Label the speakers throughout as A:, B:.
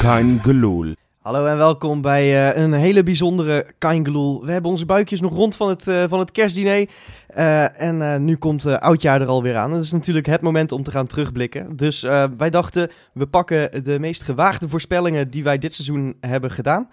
A: Kein geloel.
B: Hallo en welkom bij eh, een hele bijzondere Kaingeloel. We hebben onze buikjes nog rond van het, eh, van het kerstdiner. Eh, en eh, nu komt eh, oudjaar er alweer aan. Dat is natuurlijk het moment om te gaan terugblikken. Dus eh, wij dachten, we pakken de meest gewaagde voorspellingen die wij dit seizoen hebben gedaan.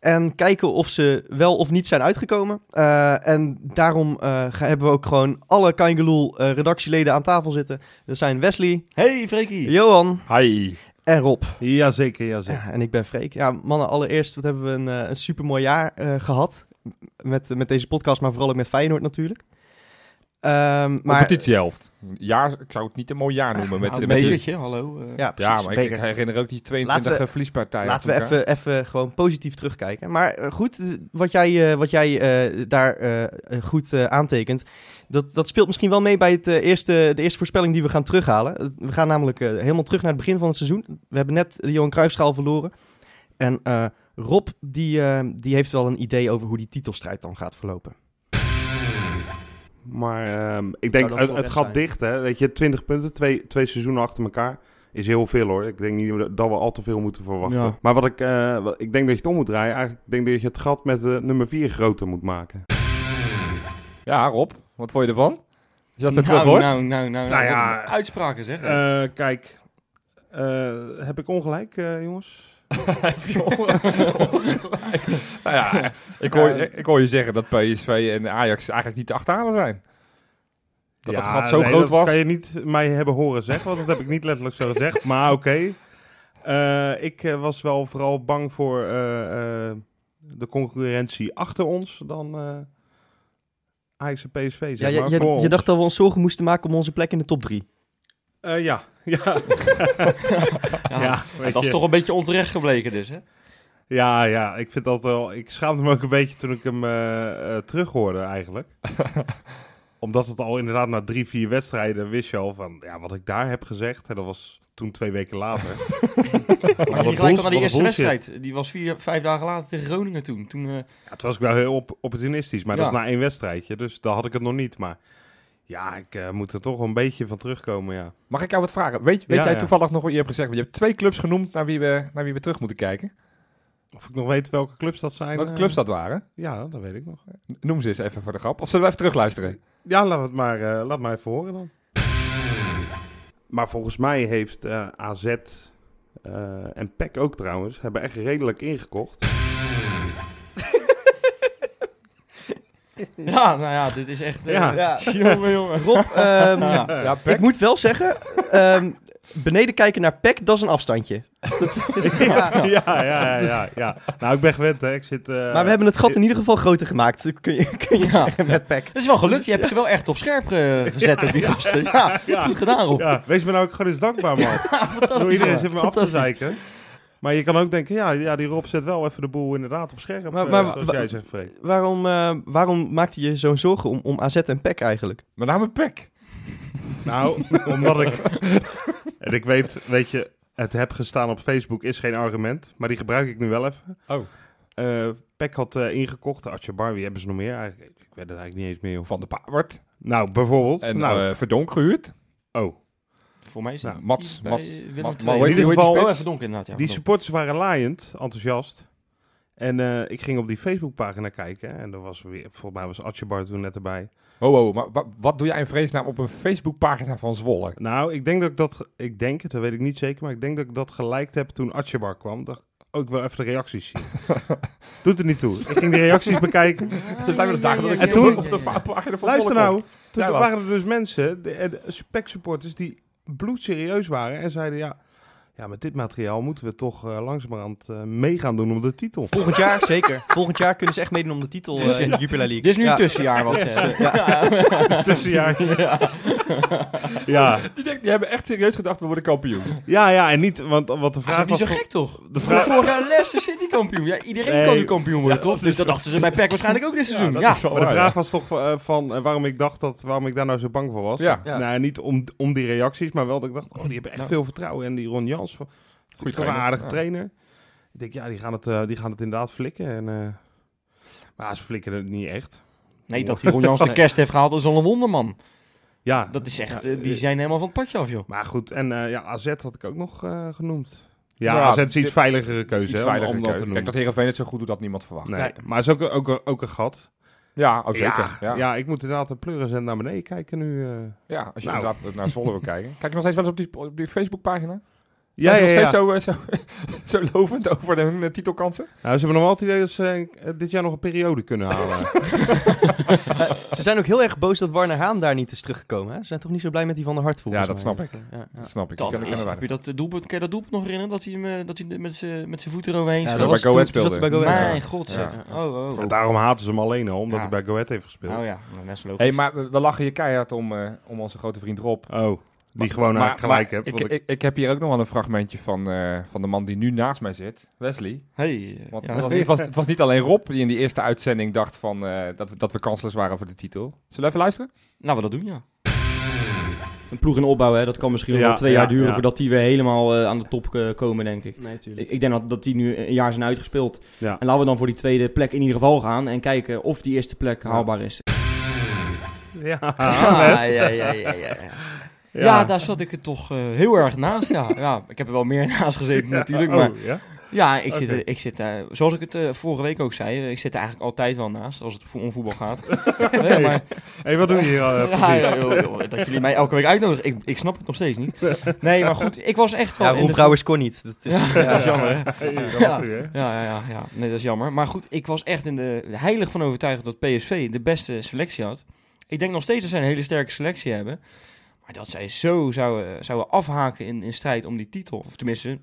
B: En kijken of ze wel of niet zijn uitgekomen. Eh, en daarom eh, ga- hebben we ook gewoon alle Kaingeloel eh, redactieleden aan tafel zitten. Dat zijn Wesley,
C: Hey Freekie!
B: Johan
A: Hi.
B: en Rob.
C: Jazeker, jazeker.
B: Ja, en ik ben Freek. Ja, mannen, allereerst, wat hebben we een, eh, een supermooi jaar eh, gehad. M- Met, met deze podcast, maar vooral ook met Feyenoord natuurlijk. Ehm maar,
A: Competitiehelft. Ja, ik zou het niet een mooi jaar noemen. Met,
C: Nou,
A: met de,
C: bekertje, hallo. eh.
B: ja, precies,
A: ja, maar ik,
B: beker.
A: ik herinner ook die 22
B: Laten we-
A: verliespartijen.
B: Laten we
A: achter elkaar.
B: even, even gewoon positief terugkijken. Maar eh, goed, eh, wat jij, eh, wat jij eh, daar eh, eh, goed eh, aantekent, dat, dat speelt misschien wel mee bij het, eh, eerste, de eerste voorspelling die we gaan terughalen. We gaan namelijk eh, helemaal terug naar het begin van het seizoen. We hebben net de Johan Cruijffschaal verloren. En eh, Rob, die, eh, die heeft wel een idee over hoe die titelstrijd dan gaat verlopen.
D: Maar ehm, ik denk,
B: dan
D: het,
B: voor
D: het
B: weg
D: gaat
B: zijn.
D: dicht, hè. Weet je, 20 punten, twee, twee seizoenen achter elkaar is heel veel, hoor. Ik denk niet dat we al te veel moeten verwachten.
C: Ja.
D: Maar wat ik, eh, wat- ik denk dat je het om moet draaien. Eigenlijk denk ik dat je het gat met de nummer 4 groter moet maken.
A: Ja, Rob, wat vond je ervan? Als Je had het
C: nou,
A: terug hoort.
C: nou, nou, nou,
D: Nou
C: nou, nou
D: ja.
C: wat een Uitspraken zeg.
D: Eh, kijk, eh, heb ik ongelijk, eh, jongens?
A: Nou ja, ik hoor,
D: nou.
A: ik hoor je zeggen dat PSV en Ajax eigenlijk niet te achterhalen zijn. Dat dat
D: Ja,
A: gat zo
D: nee,
A: groot
D: dat
A: was.
D: kan je niet mij hebben horen zeggen, want dat heb ik niet letterlijk zo gezegd. Maar oké. Eh, ik eh, was wel vooral bang voor eh, eh, de concurrentie achter ons dan eh Ajax en PSV,
B: Ja,
D: zeg
B: je,
D: maar.
B: je,
D: voor
B: je
D: ons.
B: dacht dat we ons zorgen moesten maken om onze plek in de top 3.
D: Eh, ja. Ja.
C: Ja,
D: ja, weet
C: dat is
D: je.
C: toch een beetje onterecht gebleken dus, hè?
D: Ja, ja, ik vind dat wel... Ik schaamde me ook een beetje toen ik hem eh, eh, terughoorde eigenlijk. Omdat het al inderdaad na drie, vier wedstrijden wist je al van... Ja, wat ik daar heb gezegd, hè, dat was toen twee weken later.
C: Maar
D: Wat
C: je gelijk
D: bullsh-
C: al naar die
D: wat
C: eerste
D: bullshit.
C: wedstrijd. Die was vier, vijf dagen later tegen Groningen toen. toen eh,
D: Ja, het was ook wel heel op opportunistisch, maar dat
C: Ja.
D: is na één wedstrijdje. Dus daar had ik het nog niet. Maar ja, ik eh, moet er toch wel een beetje van terugkomen, ja.
A: Mag ik jou wat vragen? Weet, weet
D: Ja,
A: jij
D: ja.
A: toevallig nog wat je hebt gezegd? Want je hebt twee clubs genoemd naar wie we, naar wie we terug moeten kijken.
D: Of ik nog weet welke clubs dat zijn.
A: Welke
D: eh,
A: clubs dat waren?
D: Ja, dat weet ik nog.
A: Noem ze eens even voor de grap. Of zullen we even terugluisteren?
D: Ja, laat, het maar, eh, laat maar even horen dan. Maar volgens mij heeft eh, AZ eh, en PEC ook trouwens, hebben echt redelijk ingekocht.
C: Ja, nou ja, dit is echt... eh,
D: Ja.
C: Jongen, jongen.
B: Rob, ehm,
C: Nou ja.
A: Ja,
B: ik moet wel zeggen, ehm, beneden kijken naar Peck, dat is een afstandje. Dat is, ja.
D: ja, ja, ja, ja, ja. Nou, ik ben gewend, hè. Ik zit... eh,
B: Maar we hebben het gat in ieder geval groter gemaakt, kun je, kun je
C: Ja.
B: zeggen, met Peck.
C: Het is wel gelukt, je hebt ze wel echt op scherp eh, gezet op die gasten. Ja,
D: ja.
C: goed gedaan Rob.
D: Ja, wees me nou ook gewoon eens dankbaar, man.
C: Fantastisch.
D: Door iedereen
C: hoor.
D: zit me af te
C: Fantastisch.
D: zeiken. Maar je kan ook denken, ja, ja, die Rob zet wel even de boel inderdaad op scherp.
B: Maar-
D: eh,
B: maar-
D: zoals
B: wa-
D: jij zegt, Freek.
B: Waarom, eh, waarom maakte je zo'n zorgen om, om AZ en Peck eigenlijk?
A: Met name Peck.
D: Nou, omdat ik... En ik weet, weet je, het heb gestaan op Facebook is geen argument. Maar die gebruik ik nu wel even.
A: Oh.
D: Eh, Peck had eh, ingekocht, Atjebar, wie hebben ze nog meer eigenlijk? Ik weet het eigenlijk niet eens meer. Of...
A: Van de Paard.
D: Nou, bijvoorbeeld.
A: En
D: nou,
A: eh, Verdonk gehuurd.
D: oh.
C: Voor mij is
D: Nou,
C: het
A: Mats,
C: bij
A: Mats,
C: Willem
A: Mats,
C: II.
A: hoe heet
D: die- hoe heet die
C: Oh,
A: spits?
C: even donker inderdaad. Ja,
D: Die
C: Verdonk.
D: supporters waren laaiend, enthousiast. En eh, ik ging op die Facebookpagina kijken. En er was weer, volgens mij was Atjebar toen net erbij.
A: Ho, ho, Oh, maar wa- wat doe jij in vreesnaam op een Facebookpagina van Zwolle?
D: Nou, ik denk dat ik dat... ge- Ik denk het, dat weet ik niet zeker. Maar ik denk dat ik dat geliked heb toen Atjebar kwam. Dacht ik, oh, ik wil even de reacties zien. Doet er niet toe. Ik ging de reacties bekijken.
A: Er Dus zijn wel eens dagen dat ik
D: En
A: op-
D: toen-
A: op de va- pagina van
D: Luister
A: Zwolle kom.
D: nou. Toen
A: Ja,
D: waren er dus mensen, de, eh, de Spec supporters, die bloedserieus waren. En zeiden, ja, ja met dit materiaal moeten we toch eh, langzamerhand eh, mee gaan doen om de titel.
B: Volgend jaar, zeker. Volgend jaar kunnen ze echt meedoen om de titel eh, in de Jupiler League.
C: Dit is nu
B: Ja.
C: een tussenjaar wat eh, ze hebben.
D: Dus tussenjaar. Ja.
A: Die, denkt, die hebben echt serieus gedacht, we worden kampioen.
D: ja, ja, en niet, want wat de
C: Dat
D: vraag
C: is niet
D: was...
C: zo gek toch?
D: de
C: De
D: vraag-
C: vraag... Vorig jaar Leicester City kampioen. Ja, iedereen
D: Nee.
C: kan nu kampioen worden, toch? Dus dat dachten ze bij PEC waarschijnlijk ook dit seizoen. Ja,
A: is wel
D: Maar de
A: waar,
D: vraag was toch eh, van eh, waarom ik dacht dat, waarom ik daar nou zo bang voor was.
A: Ja.
B: Ja.
D: Nou, ja, niet om, om die reacties, maar wel dat ik dacht, oh, die hebben echt
A: Nou.
D: veel vertrouwen. En die Ron Jans, van- toch
A: Goeie
D: een
A: trainer.
D: aardige
A: Ja.
D: trainer. Ik denk, ja, die gaan het, eh, die gaan het inderdaad flikken. En, eh, maar ze flikken het niet echt.
C: Nee, dat die Ron Jans de kerst heeft gehaald is al een wonderman.
D: Ja,
C: Dat is echt,
D: Ja,
C: eh, die
D: eh,
C: zijn helemaal van het padje af, joh.
D: maar goed. En eh, ja, AZ had ik ook nog eh, genoemd. Ja,
A: Ja,
D: AZ is iets
A: dit-
D: veiligere keuze
A: Iets
D: hè, om-
A: veilige
D: om dat
A: keuze.
D: te noemen.
A: Kijk, dat Heerenveen het zo goed doet, dat niemand verwacht.
D: nee. Maar het is ook, ook, ook een gat.
A: Ja, oh, zeker.
D: Ja,
A: Ja. Ja.
D: ja, ik moet inderdaad een pleurisend naar beneden kijken nu. eh.
A: als je
D: Nou.
A: inderdaad naar Zwolle wil kijken. Kijk je nog steeds wel eens op die, op die Facebookpagina?
D: Ja,
A: Zijn
D: ja,
A: ze
D: ja.
A: nog steeds zo, eh, zo, zo lovend over de, hun eh, titelkansen?
D: Nou, ze hebben nog wel het idee dat ze eh, dit jaar nog een periode kunnen halen.
B: Eh, Ze zijn ook heel erg boos dat Warner Haan daar niet is teruggekomen. Hè? Ze zijn toch niet zo blij met die van de Hart volgens
A: Ja, dat
B: mij.
A: snap ik.
B: Ja, ja.
A: Dat snap ik.
C: Dat
A: ik ken- ik
C: is,
A: ken er
C: heb je
A: weinig.
C: dat eh, doelpunt, kan je dat doelpunt nog herinneren? Dat hij, hem, eh, dat hij er met zijn met zijn voeten eroverheen
B: Ja,
A: Toen
C: schoot?
A: hij
B: dat was
A: bij Go
B: toen-
A: Ahead
B: toen dat
A: speelde.
B: hij bij Go Ahead
A: Ja.
C: Mijn god zeg.
B: Ja.
C: Oh, oh.
D: En daarom haten ze hem alleen al, omdat
C: Ja.
D: hij bij Go Ahead heeft gespeeld.
C: Oh ja, nou, net zo logisch.
A: Hey, maar we, we lachen je keihard om, eh, om onze grote vriend Rob.
D: Oh, die gewoon
A: Maar-
D: eigenlijk gelijk
A: maar
D: hebt.
A: Ik,
D: want ik-
A: ik, ik heb hier ook nog wel een fragmentje van, eh, van de man die nu naast mij zit, Wesley.
C: Hey, eh,
A: Want
C: ja.
A: het, was, het, was, het was niet alleen Rob die in die eerste uitzending dacht van, eh, dat, we, dat we kansloos waren voor de titel. Zullen we even luisteren?
C: Nou, we dat doen, ja.
E: Een ploeg in opbouw, hè, dat kan misschien nog
D: Ja,
E: wel twee
D: ja,
E: jaar duren
D: ja.
E: voordat die weer helemaal eh, aan de top eh, komen, denk ik.
B: Nee, tuurlijk.
E: ik. Ik denk dat, dat die nu een jaar zijn uitgespeeld.
D: ja.
E: En laten we dan voor die tweede plek in ieder geval gaan en kijken of die eerste plek haalbaar is.
D: Ja,
C: Ah,
D: Les.
C: ja, ja, ja, ja, ja.
D: Ja.
C: Ja, daar zat ik het toch eh, heel erg naast. Ja. ja, ik heb er wel meer naast gezeten natuurlijk. Maar
D: Oh, ja?
C: ja, ik zit,
D: Oké.
C: er- ik zit eh, zoals ik het eh, vorige week ook zei, eh, ik zit er eigenlijk altijd wel naast als het vo- om voetbal gaat. Nee, maar,
D: hey, wat doe je hier eh,
C: ja,
D: precies?
C: joh, joh, dat jullie mij elke week uitnodigen, ik, ik snap het nog steeds niet. Nee, maar goed, ik was echt wel...
B: Ja,
C: in
B: Rob
C: de-
B: Brouwers kon niet. Dat is,
C: Ja, dat is jammer, hè?
D: Hey, daar was hij, hè?
C: Ja, Oh, ja, ja, ja. Nee, dat is jammer. Maar goed, ik was echt in de heilig van overtuigd dat PSV de beste selectie had. Ik denk nog steeds dat zij een hele sterke selectie hebben. Maar dat zij zo zouden, zouden afhaken in, in strijd om die titel. Of tenminste,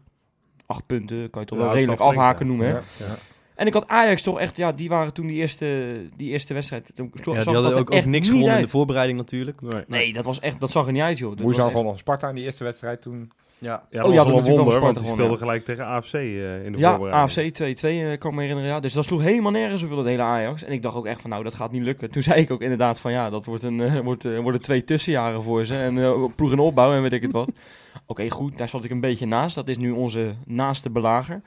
C: acht punten kan je toch
D: Ja,
C: wel
D: dat is
C: redelijk
D: wel flink,
C: afhaken
D: ja.
C: noemen. Hè?
D: Ja, ja.
C: En ik had Ajax toch echt, ja, die waren toen die eerste, die eerste wedstrijd. Toen
B: ja,
C: zag
B: die hadden
C: dat
B: ook,
C: er
B: ook
C: echt
B: niks
C: niet
B: gewonnen in
C: uit.
B: de voorbereiding natuurlijk.
D: Nee.
C: Nee, dat, was echt, dat zag er niet uit, joh. Dat
A: Moeizaam
C: was echt-
A: gewoon nog Sparta in die eerste wedstrijd toen.
B: Ja.
D: Ja,
C: Oh,
D: dat
C: ja,
D: was wel
C: dat natuurlijk
D: een
C: wel
D: wonder,
C: Sparta
D: want die
C: gewonnen,
D: speelde
C: ja.
D: gelijk tegen AFC eh, in de
C: Ja, AFC
D: voorbereiding.
C: 2-2 eh, kan ik me herinneren. Ja. Dus dat sloeg helemaal nergens op, dat hele Ajax. En ik dacht ook echt van, nou, dat gaat niet lukken. Toen zei ik ook inderdaad van, ja, dat wordt een, eh, wordt, eh, worden twee tussenjaren voor ze. En eh, ploeg en opbouw en weet ik het wat. Oké, goed, daar zat ik een beetje naast. Dat is nu onze naaste belager.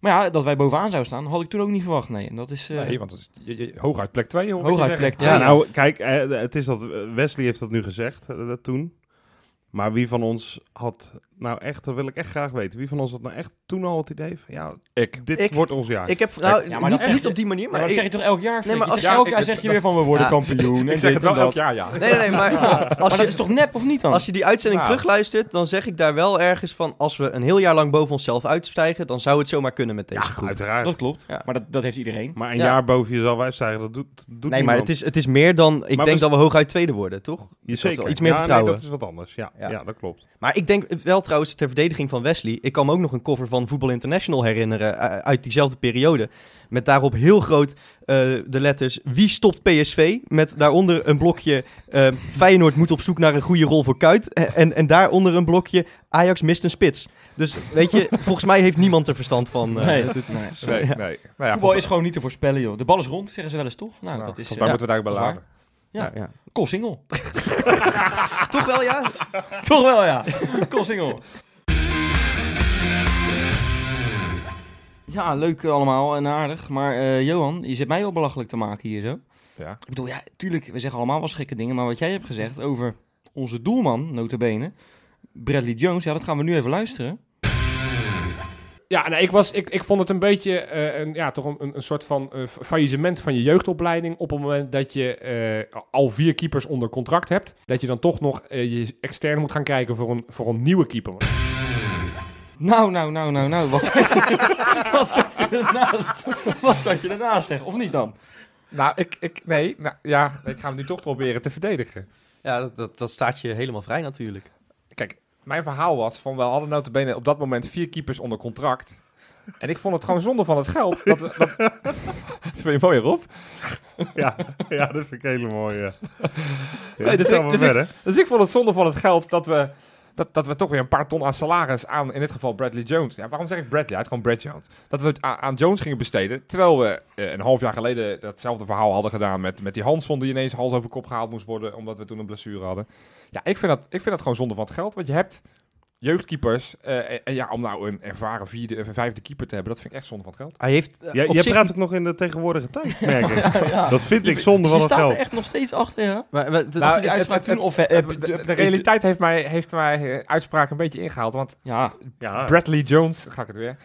C: Maar ja, dat wij bovenaan zouden staan, had ik toen ook niet verwacht. Nee, en dat is eh,
A: Nee, want dat is je- je- hooguit plek 2.
C: hooguit plek 2.
D: Ja, nou, kijk, eh, het is dat eh, Wesley heeft dat nu gezegd, eh, dat toen. Maar wie van ons had nou echt, dat wil ik echt graag weten, wie van ons had nou echt toen al het idee van, ja,
A: Ik.
D: dit
B: Ik-
D: wordt ons jaar.
B: Ik heb nou,
C: Ja, maar dat
B: niet,
C: zeg-
B: niet op die manier,
C: maar
B: maar,
C: dat
B: ik-
C: zeg je toch elk jaar? Nee, maar
B: maar
C: als
B: als-
A: Ja,
C: elk
A: ik-
C: jaar zeg je weer van, we worden
B: Ja.
C: kampioen.
A: Ik
C: en
A: zeg
C: dit
A: het wel
C: en dat.
A: elk jaar, ja.
B: Nee, nee, nee, maar als
C: Maar dat
B: je,
C: is toch nep of niet dan?
B: als je die uitzending
A: Ja.
B: terugluistert, dan zeg ik daar wel ergens van... als we een heel jaar lang boven onszelf uitstijgen, dan zou het zomaar kunnen met deze
D: ja,
B: groep.
D: uiteraard.
C: Dat klopt,
B: Ja.
C: maar dat, dat heeft iedereen.
D: Maar een
B: Ja.
D: jaar boven je zal wijstijgen, dat doet, doet
B: nee, maar het is, het is meer dan... Ik
D: Maar
B: denk
D: we-
B: dat we hooguit tweede worden, toch?
D: je
B: is wel
D: zeker.
B: iets meer
D: ja, nee,
B: vertrouwen.
D: dat is wat anders, ja. Ja,
B: Ja.
D: dat klopt.
B: Maar ik denk wel trouwens ter verdediging van Wesley. Ik kan me ook nog een cover van Voetbal International herinneren eh, uit diezelfde periode. Met daarop heel groot eh, de letters Wie stopt PSV? Met daaronder een blokje eh, Feyenoord moet op zoek naar een goede rol voor Kuit. En, en, en daaronder een blokje Ajax mist een spits. Dus weet je, volgens mij heeft niemand er verstand van. eh.
C: Nee.
A: Nee, nee. Nou ja,
C: Voetbal is gewoon niet te voorspellen, joh. De bal is rond, zeggen ze wel eens, toch? Nou,
A: Nou,
C: dat is... eh,
A: volgens mij moeten we het eigenlijk
C: dat is
A: bij laten.
C: Ja.
B: ja. Ah,
C: Col single.
B: Toch wel ja?
C: Toch wel, ja. Col single. Ja, leuk allemaal en aardig. Maar eh, Johan, je zit mij wel belachelijk te maken hier zo.
A: Ja.
C: Ik bedoel, ja, tuurlijk, we zeggen allemaal wel gekke dingen. Maar wat jij hebt gezegd over onze doelman, notabene, Bradley Jones. Ja, dat gaan we nu even luisteren.
F: Ja, nou, ik, was, ik, ik vond het een beetje eh, een, ja, toch een- een, een soort van eh, fa- faillissement van je jeugdopleiding. Op het moment dat je eh, al vier keepers onder contract hebt. Dat je dan toch nog eh, je extern moet gaan kijken voor een, voor een nieuwe keeper.
C: Nou, nou, nou, nou, nou. Wat, wat zat je ernaast? Wat zat je ernaast, zeg? Of niet dan?
A: Nou, ik, ik, nee, nou, ja, ik ga hem nu toch proberen te verdedigen.
B: Ja, dat, dat, dat staat je helemaal vrij natuurlijk.
A: Kijk, mijn verhaal was van we hadden notabene op dat moment vier keepers onder contract. En ik vond het gewoon zonde van het geld. Dat, we- dat... dat vind je mooi, Rob?
D: Ja, ja, dat vind ik een hele mooie. Ja.
A: Nee, dus
D: Gaan
A: ik-
D: we
A: dus
D: verder.
A: Dus ik vond het zonde van het geld dat we, dat, dat we toch weer een paar ton aan salaris aan, in dit geval Bradley Jones. Ja, waarom zeg ik Bradley? Hij is gewoon Brad Jones. Dat we het aan, aan Jones gingen besteden. Terwijl we eh, een half jaar geleden datzelfde verhaal hadden gedaan met, met die Hanson die ineens hals over kop gehaald moest worden. Omdat we toen een blessure hadden. Ja, ik vind dat, ik vind dat gewoon zonde van het geld. Want je hebt jeugdkeepers. eh, en, en ja, om nou een ervaren vierde of een vijfde keeper te hebben, dat vind ik echt zonde van het geld.
B: Hij heeft eh,
D: Jij,
B: op
D: jij
B: zich
D: praat ook nog in de tegenwoordige tijd, merk ik.
C: ja.
D: Dat vind ik zonde
C: Je
D: van het
C: staat
D: geld.
C: er echt nog steeds achter, ja.
B: Maar, maar,
A: Nou,
C: Nou,
A: het-
C: die
A: het-
C: uitspraak
A: het-
C: toen
A: het-
C: of... eh,
A: Eh,
C: eh,
A: de,
C: eh,
A: de- de realiteit heeft mij, heeft mij eh, uitspraak een beetje ingehaald. Want
C: Ja,
D: Ja,
A: Bradley Jones, Ah. ga ik het weer,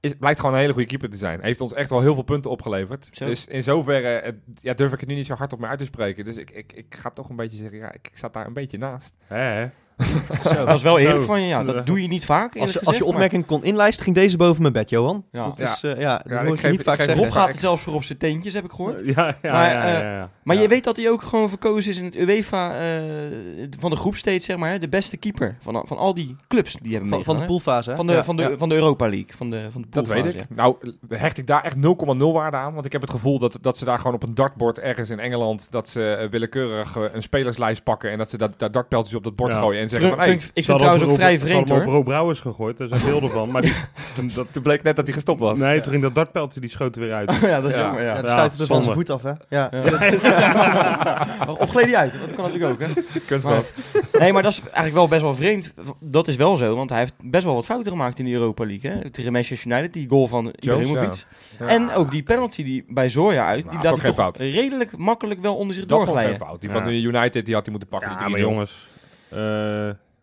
A: is, blijkt gewoon een hele goede keeper te zijn. Heeft ons echt wel heel veel punten opgeleverd.
C: Zo.
A: Dus in zoverre eh, ja, durf ik het nu niet zo hard op me uit te spreken. Dus ik, ik, ik ga toch een beetje zeggen, ja, ik, ik zat daar een beetje naast.
D: Hè, hè?
C: dat was wel eerlijk
D: Zo.
C: van je. Ja, dat doe je niet vaak.
B: Eh, als,
C: eerlijk
B: je, als je
C: gezegd, maar-
B: opmerking kon inlijsten, ging deze boven mijn bed, Johan.
C: Ja.
B: Dat,
A: Ja.
B: Is, eh, ja, dat
A: Ja,
B: hoor
A: ik
B: ik je
A: geef-
B: niet
A: ik
B: vaak
A: geef
B: zeggen.
A: Rob
C: Rob gaat er zelfs voor op zijn teentjes, heb ik gehoord.
D: Ja, ja,
C: Maar,
D: ja,
C: eh,
D: ja, ja.
C: Maar
D: Ja.
C: je weet dat hij ook gewoon verkozen is in het UEFA eh, van de groep steeds, zeg maar, hè, de beste keeper van, van al die clubs die hebben
B: Van, van de
C: meegedaan,
B: poolfase,
C: hè.
B: hè?
C: van de,
B: Ja,
C: van de,
B: ja.
C: van de Europa League, van de, van de
A: Dat weet
C: poolfase,
A: ik.
C: ja.
A: Nou, hecht ik daar echt 0,0 waarde aan. Want ik heb het gevoel dat, dat ze daar gewoon op een dartbord ergens in Engeland... dat ze eh, willekeurig eh, een spelerslijst pakken... en dat ze dat, daar dartpijltjes op dat bord
D: Ja.
A: gooien en zeggen
C: Vru-
A: van... Hey,
C: vind ik- ik vind het trouwens ook vrij vreemd,
D: Ze hadden
C: hoor.
D: op Rob Brouwers gegooid, daar zijn beelden van. Maar die, toen dat,
A: toen bleek net dat hij gestopt was.
D: nee, toen ging dat dartpeltje, die schoot er weer uit.
C: Ja, dat is
A: Ja.
C: jammer, ja.
B: Ja, het
D: Ja,
B: stuitte dus van
D: zonde.
B: zijn voet af, hè? Ja.
C: Of gleed hij uit, want dat kan natuurlijk ook, hè.
A: Kunstgras.
C: Nee, maar dat is eigenlijk wel best wel vreemd. Dat is wel zo, want hij heeft best wel wat fouten gemaakt in de Europa League. Hè? Tegen Manchester United, die goal van Ibrahimovic.
A: Ja.
C: En ook die penalty die bij Zoya uit, die
A: Nou,
C: laat
A: vond
C: hij toch
A: ik geen
C: redelijk makkelijk wel onder zich
A: Dat vond ik geen
C: doorglijden.
A: fout. Die
D: Ja.
A: van de United die had hij moeten pakken.
D: Ja,
A: die
D: maar
A: 3-0.
D: jongens. eh,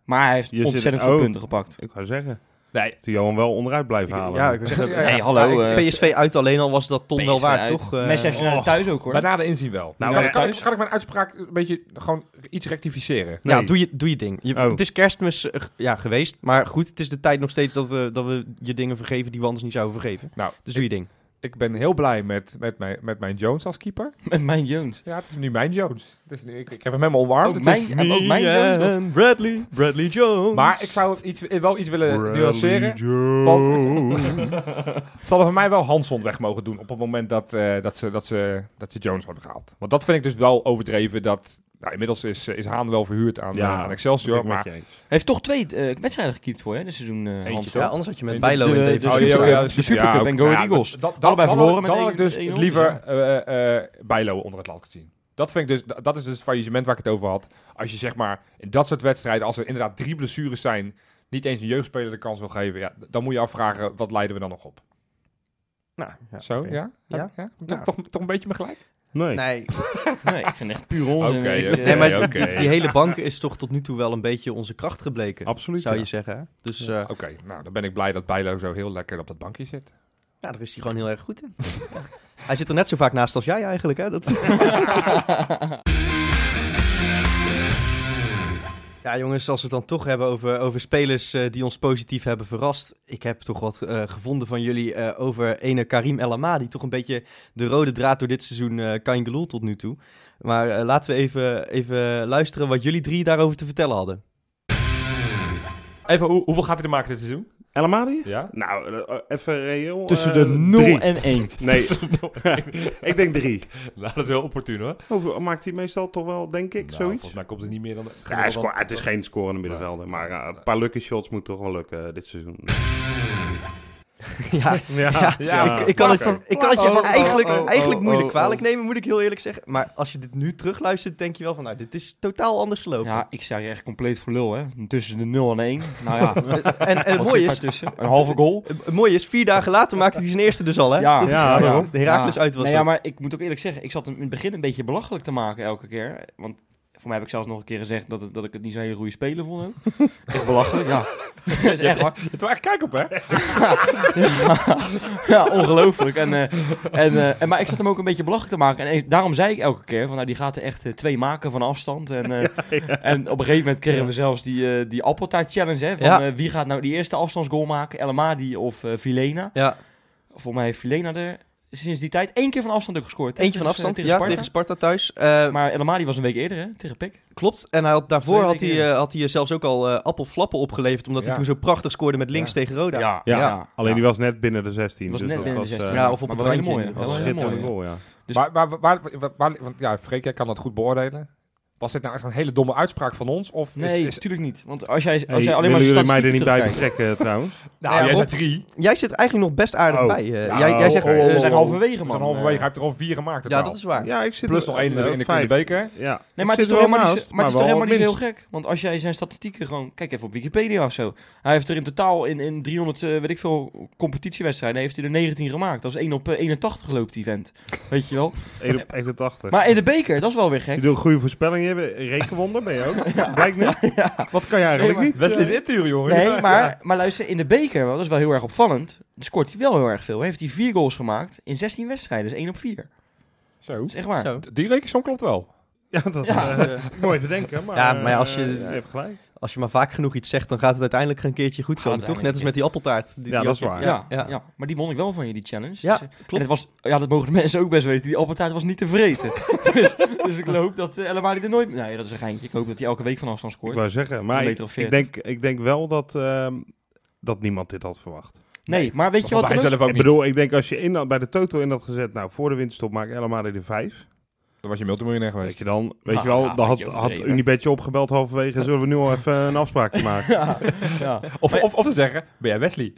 C: Maar hij heeft
D: Je zit-
C: ontzettend veel
D: oh.
C: punten gepakt.
D: ik wou zeggen,
A: Nee,
D: dat Johan wel onderuit blijft halen.
B: Ja, ik wil zeggen,
A: Ja,
C: Nee, hallo.
A: ja,
C: eh,
B: PSV uit alleen al was dat ton wel
C: PSV
B: waard,
C: uit.
B: toch? Eh,
C: Manchester United thuis ook, hoor.
A: bij nader inzien wel.
D: Nou,
A: kan,
D: eh,
A: ik- kan ik,
C: thuis-
A: kan ik mijn uitspraak een beetje gewoon iets rectificeren?
B: Ja,
D: Nee.
B: doe je, doe je ding. Je,
D: Oh.
B: Het is kerstmis eh, g- ja, geweest, maar goed, het is de tijd nog steeds dat we, dat we je dingen vergeven die we anders niet zouden vergeven.
A: Nou,
B: Dus doe je ding.
A: Ik ben heel blij met, met, mijn, met mijn Jones als keeper.
C: Met mijn Jones.
A: Ja, het is nu mijn Jones. Het is nu, ik, ik heb hem helemaal omarmd.
C: Ook
A: Het
C: Oh, mijn-
A: is-
C: en ook mijn
B: Me
C: Jones nog.
B: and Bradley, Bradley Jones.
A: maar ik zou iets, wel iets willen
D: Bradley
A: nuanceren.
D: Jones.
A: Ze hadden van mij wel Hanson weg mogen doen op het moment dat, eh, dat, ze, dat, ze, dat ze Jones hadden gehaald. Want dat vind ik dus wel overdreven. Dat, nou, inmiddels is, eh, is Haan wel verhuurd aan,
D: Ja,
A: eh, aan
D: Ben ik
A: Excelsior.
D: met
A: Maar
D: je eens.
C: Hij heeft toch twee eh, wedstrijden gekiept voor, hè, dit seizoen. eh,
A: Eentje
C: Hans.
A: toch?
B: ja, anders had je met
A: De-
B: Bijlo
C: de-
B: en
C: de-
B: TV.
C: de-
B: Oh,
A: ja,
B: ja,
C: Supercup.
A: ja,
C: De Supercup
A: ja,
C: en Go Ahead Eagles.
A: dat- dat-
C: Allebei
A: dan
C: verloren
A: had-
C: met
A: Dan had ik dus
C: 1-0,
A: liever eh, eh, Bijlo onder het lat gezien. Dat, vind ik dus, dat is dus het faillissement waar ik het over had. Als je zeg maar in dat soort wedstrijden, als er inderdaad drie blessures zijn, niet eens een jeugdspeler de kans wil geven, ja, dan moet je afvragen, wat leiden we dan nog op?
B: Nou, ja,
A: Zo,
B: oké.
A: ja?
B: Ja.
A: ja? Toch-
B: Ja.
A: Toch, toch een beetje me gelijk?
D: Nee.
B: Nee,
C: Nee, ik vind het echt puur onzin.
A: Oké,
C: Ik, eh,
A: oké.
B: nee, maar
A: oké.
B: die, die hele bank is toch tot nu toe wel een beetje onze kracht gebleken,
D: Absoluut.
B: zou
D: ja.
B: je zeggen. hè? Dus eh,
A: Oké, nou dan ben ik blij dat Bijlo zo heel lekker op dat bankje zit.
B: ja, Nou, daar is hij gewoon heel erg goed in. Ja. Hij zit er net zo vaak naast als jij eigenlijk, hè? Dat... Ja, jongens, als we het dan toch hebben over, over spelers eh, die ons positief hebben verrast. Ik heb toch wat eh, gevonden van jullie eh, over ene Karim El Amadi. Toch een beetje de rode draad door dit seizoen eh Kangeloel tot nu toe. Maar eh, laten we even, even luisteren wat jullie drie daarover te vertellen hadden.
A: Even, hoe- hoeveel gaat hij er maken dit seizoen?
D: El Amadi?
A: Ja?
D: Nou, eh, eh, even reëel.
C: Tussen
D: eh,
C: de 0
D: drie.
C: en 1.
D: Nee, ik denk drie.
A: Nou, dat is wel opportun hoor.
D: Hoeveel maakt hij meestal toch wel, denk ik,
A: Nou,
D: zoiets?
A: Volgens mij komt er niet meer dan...
D: Ja, hij sco- het is geen scorende middenvelder, maar eh, een paar lucky shots moet toch wel lukken eh, dit seizoen.
B: ja, Ja, ik, ik kan het, van, ik kan het je
A: Oh,
B: van
A: oh,
B: eigenlijk,
A: oh, oh,
B: eigenlijk
A: oh,
B: moeilijk
A: oh.
B: kwalijk nemen, moet ik heel eerlijk zeggen. Maar als je dit nu terugluistert, denk je wel van, nou, dit is totaal anders gelopen.
C: Ja, ik sta je echt compleet voor lul, hè. Tussen de 0 en 1. Nou ja,
B: En, en het,
C: wat
B: mooie
C: zit
B: is,
C: daartussen? Een halve goal.
B: het mooie is, vier dagen later maakte hij zijn eerste dus al, hè?
C: Ja,
B: Dat-
D: ja, daarom.
B: De Heracles
C: Ja.
B: uit was
C: nee,
B: dat.
C: ja, maar ik moet ook eerlijk zeggen, ik zat hem in het begin een beetje belachelijk te maken elke keer. Want voor mij heb ik zelfs nog een keer gezegd dat, het- dat ik het niet zo'n hele goede speler vond. ook. Echt belachelijk, ja. Dat is echt waar.
A: Het wel echt kijk op hè?
C: Ja, ongelooflijk. En, eh, en, eh, en, maar ik zat hem ook een beetje belachelijk te maken. En eens- daarom zei ik elke keer, van, nou, die gaat er echt eh, twee maken van afstand. En, eh, en op een gegeven moment kregen we zelfs die, eh, die appeltaart-challenge. Hè, van
B: Ja.
C: eh, wie gaat nou die eerste afstandsgoal maken? Elamadi of eh, Vilena?
B: Ja,
C: Volgens mij heeft Vilena er sinds die tijd één keer van afstand ook gescoord. hè,
B: eentje van
C: tegen-
B: afstand
C: eh, tegen
B: ja, tegen
C: Sparta.
B: Sparta thuis. Eh,
C: Maar Elamadi was een week eerder, hè? Tegen Pek.
B: klopt. En hij had, daarvoor
C: Twee
B: had hij,
C: keer.
B: eh, had hij zelfs ook al eh, appelflappen opgeleverd, omdat hij
A: Ja.
B: toen zo prachtig scoorde met links
A: Ja.
B: tegen Roda.
D: Ja,
C: ja.
D: Alleen die was net binnen de 16.
C: Was
D: dus
C: net
D: dat
C: binnen
D: was,
C: de
D: eh,
C: 16.
B: ja, of op
C: Maar
B: het
C: wel een
B: randje.
C: hele mooie.
B: in ieder
D: was
B: geval.
D: een
C: Wel een
D: schitterende
C: hele mooie.
D: goal, ja.
A: Dus maar, maar, waar, waar, waar- want ja, Freek, jij kan dat goed beoordelen. Was dit nou echt een hele domme uitspraak van ons? Of
C: Nee,
A: is, is,
C: natuurlijk niet. Want als jij, als
D: Hey,
C: jij
D: willen
C: alleen maar
D: jullie mij er
C: statistieken
D: niet bij
C: terugkijkt-
D: betrekken trouwens?
A: nou,
B: Ja,
A: jij
B: Rob,
A: zei drie.
B: Jij zit eigenlijk nog best aardig
D: Oh.
B: bij. eh.
D: Ja,
B: jij, jij zegt...
D: oké.
B: eh,
C: We zijn halverwege,
A: We
C: man.
A: zijn halverwege, hij heeft er al vier gemaakt.
B: ja,
A: totaal.
B: dat is waar.
D: Ja, ik zit
A: Plus
D: er-
A: nog één in de-
D: eh,
A: in de
D: vijf.
A: Kleine Beker.
D: Ja.
C: Nee, maar
D: Ik
C: het
D: zit
C: is toch
D: er wel
C: helemaal, niet,
D: naast,
C: zo- maar het is toch
D: wel
C: helemaal niet zo heel
D: minst.
C: gek? Want als jij zijn statistieken gewoon... Kijk even op Wikipedia of zo. Hij heeft er in totaal in, in 300, eh, weet ik veel, competitiewedstrijden... heeft hij er 19 gemaakt. Dat is 1 op eh, 81 loopt die vent. Weet je wel?
D: 1 op 81.
C: Maar in de beker, dat is wel weer
D: je
C: gek.
D: doet een goede voorspelling. Je bent- rekenwonder ben je ook. Blijkt niet. Wat kan je eigenlijk
A: Nee,
D: niet?
A: maar Wesley is interieur, jongen.
C: Nee, maar, maar luister, in de beker, wel, dat is wel heel erg opvallend. Dan scoort hij wel heel erg veel. Heeft hij vier goals gemaakt in 16 wedstrijden. Dus 1 op 4. Dat
A: Zo.
C: is echt waar.
B: Zo.
A: Die rekensom klopt wel.
D: Ja, dat
C: Ja.
D: eh, ik moet even denken. Maar,
B: Ja, maar
D: eh,
B: als je-
D: hebt gelijk.
B: Als je maar vaak genoeg iets zegt, dan gaat het uiteindelijk een keertje goed
C: Gaat
B: komen,
C: het
B: toch? Net als met die appeltaart. Die,
D: Ja,
B: die
D: dat is
B: ook-
D: waar.
C: Ja,
B: ja.
C: ja. maar die won ik wel van je, die challenge.
B: Ja,
C: Dus, eh,
B: klopt.
C: En het was, ja, dat mogen de mensen ook best weten. Die appeltaart was niet te vreten. dus, dus ik hoop dat eh, El Amadi er nooit... Nee, dat is een geintje. Ik hoop dat hij elke week van afstand
D: Ik
C: scoort.
D: wou zeggen. Maar
C: Een
D: ik,
C: meter of
D: ik
C: 40.
D: denk, ik denk wel dat, ehm, dat niemand dit had verwacht.
C: nee, maar weet je wat...
A: hij
C: er ook-
A: zelf ook
D: ik
A: niet.
D: bedoel, ik denk als je in, dat- bij de Toto in dat gezet... Nou, voor de winterstop maak helemaal de 5.
A: Dan was je multimiljonair
D: Weet
A: geweest.
D: je dan, weet
C: Nou,
D: je wel,
C: ja,
D: dan had,
C: beetje
D: had
C: overdreven.
D: Unibetje opgebeld halverwege. Zullen we nu al even een afspraak maken?
C: Ja, ja.
A: Of, of, of te zeggen, ben jij Wesley?